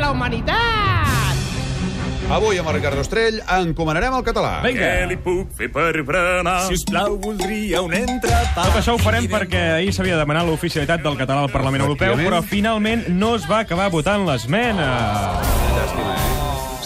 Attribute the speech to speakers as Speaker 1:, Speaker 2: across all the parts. Speaker 1: la humanitat!
Speaker 2: Avui amb el Ricard Ostrell encomanarem el català.
Speaker 3: Vinga.
Speaker 4: Què li puc fer per berenar?
Speaker 5: Si us plau, voldria un entrepà.
Speaker 3: Tot això ho farem perquè ahir s'havia demanat l'oficialitat del català al Parlament Europeu,
Speaker 2: Efectivament.
Speaker 3: però finalment no es va acabar votant l'esmena.
Speaker 2: Ah,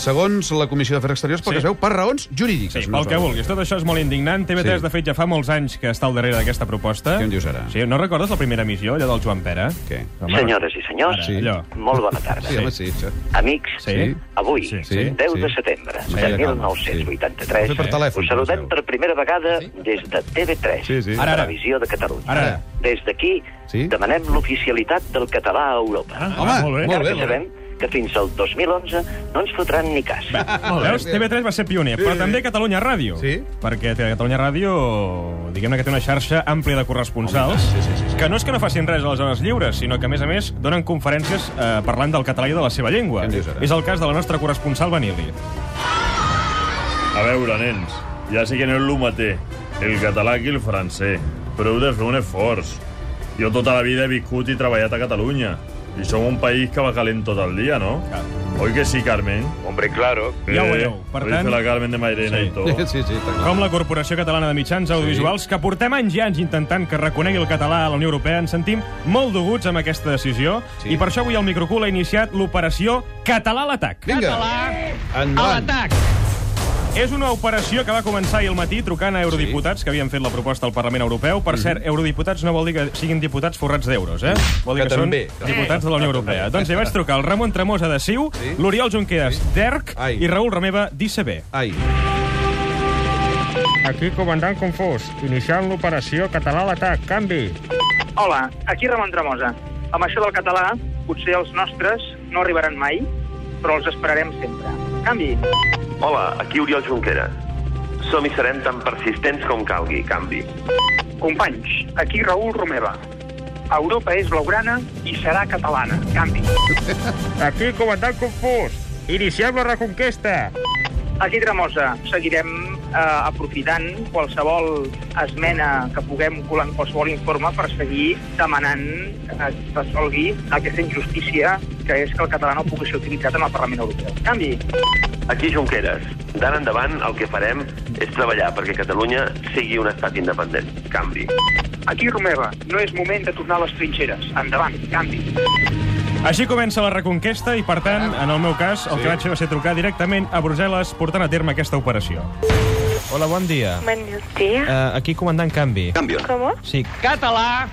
Speaker 2: Segons la Comissió d'Afers Exteriors, pel
Speaker 3: Sí.
Speaker 2: que es veu, per raons jurídiques.
Speaker 3: Sí,
Speaker 2: no
Speaker 3: pel que
Speaker 2: raons.
Speaker 3: vulguis. Tot això és molt indignant. TV3,
Speaker 2: Sí.
Speaker 3: de fet, ja fa molts anys que està al darrere d'aquesta proposta.
Speaker 2: Què em dius ara?
Speaker 3: Sí, no recordes la primera emissió, allò del Joan Pere?
Speaker 2: Què?
Speaker 3: Home,
Speaker 6: Senyores i senyors,
Speaker 3: Ara,
Speaker 2: Sí.
Speaker 3: allò.
Speaker 6: molt bona tarda.
Speaker 2: Sí, home, sí. això.
Speaker 6: Amics,
Speaker 3: Sí.
Speaker 6: avui,
Speaker 3: Sí, sí,
Speaker 6: 10 de
Speaker 2: sí.
Speaker 6: setembre
Speaker 2: Sí,
Speaker 6: de
Speaker 2: calma,
Speaker 6: 1983,
Speaker 2: sí. Per telèfon,
Speaker 6: us saludem
Speaker 2: penseu.
Speaker 6: per primera vegada des de TV3,
Speaker 2: Sí, sí.
Speaker 3: Ara, ara.
Speaker 6: Televisió de Catalunya.
Speaker 3: Ara, ara.
Speaker 6: Des d'aquí
Speaker 2: Sí.
Speaker 6: demanem l'oficialitat del català a Europa.
Speaker 3: Ah,
Speaker 2: Home,
Speaker 3: ah, molt
Speaker 2: molt
Speaker 3: bé.
Speaker 6: Encara
Speaker 2: bé,
Speaker 6: que sabem que fins al 2011 no ens fotran ni cas.
Speaker 2: Molt bé.
Speaker 3: Veus, TV3 va ser pioner, però també Catalunya Ràdio.
Speaker 2: Sí.
Speaker 3: Perquè Catalunya Ràdio, diguem-ne que té una xarxa àmplia de corresponsals, sí, sí, sí, que no és que no facin res a les zones lliures, sinó que, a més a més, donen conferències eh, parlant del català i de la seva llengua.
Speaker 2: Què em dius ara?
Speaker 3: És el cas de la nostra corresponsal Vanili.
Speaker 7: A veure, nens, ja sé que no és el mateix, el català que el francès, però heu de fer un esforç. Jo tota la vida he viscut i treballat a Catalunya, i som un país que va calent tot el dia, no?
Speaker 3: Clar.
Speaker 7: Oi que sí, Carmen? Eh,
Speaker 4: Hombre, claro.
Speaker 3: Ja ho veieu. Per
Speaker 7: Per
Speaker 3: tant-
Speaker 7: tant... la Carmen de Mairena
Speaker 3: Sí.
Speaker 7: sí. i tot.
Speaker 2: Sí, sí, està clar.
Speaker 3: Com la Corporació Catalana de Mitjans Audiovisuals, que portem anys i anys intentant que reconegui el català a la Unió Europea, ens sentim molt doguts amb aquesta decisió,
Speaker 2: Sí.
Speaker 3: i per això avui el Microcool ha iniciat l'operació Català a l'atac.
Speaker 2: Vinga,
Speaker 1: Català a
Speaker 2: endavant.
Speaker 1: l'atac!
Speaker 3: És una operació que va començar ahir al matí trucant a eurodiputats que havien fet la proposta al Parlament Europeu. Per
Speaker 2: Mhm.
Speaker 3: cert, eurodiputats no vol dir que siguin diputats forrats d'euros, eh? Vol dir
Speaker 2: Que
Speaker 3: que, són
Speaker 2: també.
Speaker 3: diputats de la Unió Europea. Doncs hi vaig trucar el Ramon Tremosa de Siu,
Speaker 2: Sí.
Speaker 3: l'Oriol Junqueras d'ERC
Speaker 2: Ai.
Speaker 3: i Raül Romeva d'ICB.
Speaker 2: Ai,
Speaker 8: Aquí, comandant confús, iniciant l'operació català a l'atac. Canvi.
Speaker 9: Hola, aquí Ramon Tremosa. Amb això del català, potser els nostres no arribaran mai, però els esperarem sempre. Canvi.
Speaker 4: Hola, aquí Oriol Junqueras. Som i serem tan persistents com calgui, canvi.
Speaker 9: Companys, aquí Raül Romeva. Europa és blaugrana i serà catalana. Canvi.
Speaker 8: Aquí, comandant confús, iniciem la reconquesta.
Speaker 9: Aquí Tremosa. Seguirem eh, aprofitant qualsevol esmena que puguem colar en qualsevol informe per seguir demanant eh, que es resolgui aquesta injustícia que és que el català no pugui ser utilitzat en el Parlament Europeu. Canvi.
Speaker 4: Aquí Junqueras. D'ara endavant el que farem és treballar perquè Catalunya sigui un estat independent. Canvi.
Speaker 9: Aquí, Romeva, no és moment de tornar a les trinxeres. Endavant, canvi.
Speaker 3: Així comença la reconquesta i, per tant, en el meu cas, el que vaig fer va ser trucar directament a Brussel·les portant a terme aquesta operació. Hola, bon dia.
Speaker 10: Buenos días.
Speaker 3: Uh, aquí comandant canvi.
Speaker 4: Canvio.
Speaker 10: ¿Cómo?
Speaker 3: Sí,
Speaker 1: Català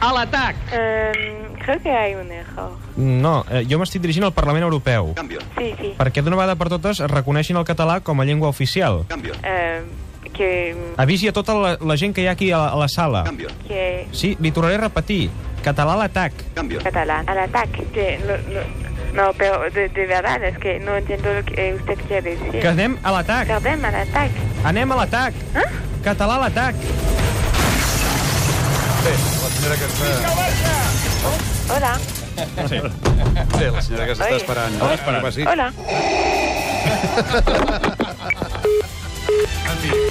Speaker 1: a l'atac!
Speaker 10: Em, um, creo que hay un error.
Speaker 3: no, eh, jo m'estic dirigint al Parlament Europeu.
Speaker 4: Canvio.
Speaker 10: Sí, sí.
Speaker 3: perquè d'una vegada per totes es reconeixin el català com a llengua oficial.
Speaker 4: Canvio.
Speaker 10: Em, Um, que,
Speaker 3: Avisi a tota la, la gent que hi ha aquí a, la- a la sala.
Speaker 10: que
Speaker 3: Sí, li tornaré a repetir. Català a l'atac.
Speaker 4: Canvio.
Speaker 10: catalán al ataque. Que lo- lo- no, pero de, de verdad es que no entiendo lo que eh, usted quiere decir.
Speaker 3: Que anem a l'atac.
Speaker 10: Perdón, al ataque.
Speaker 3: Anem a l'atac.
Speaker 10: Eh?
Speaker 3: Català a l'atac.
Speaker 2: bé, la senyora que està...
Speaker 10: Hola.
Speaker 2: Bé, la senyora que s'està
Speaker 10: Ai.
Speaker 2: esperant. No?
Speaker 3: esperant.
Speaker 2: Que passi.
Speaker 10: Hola.
Speaker 2: En fi,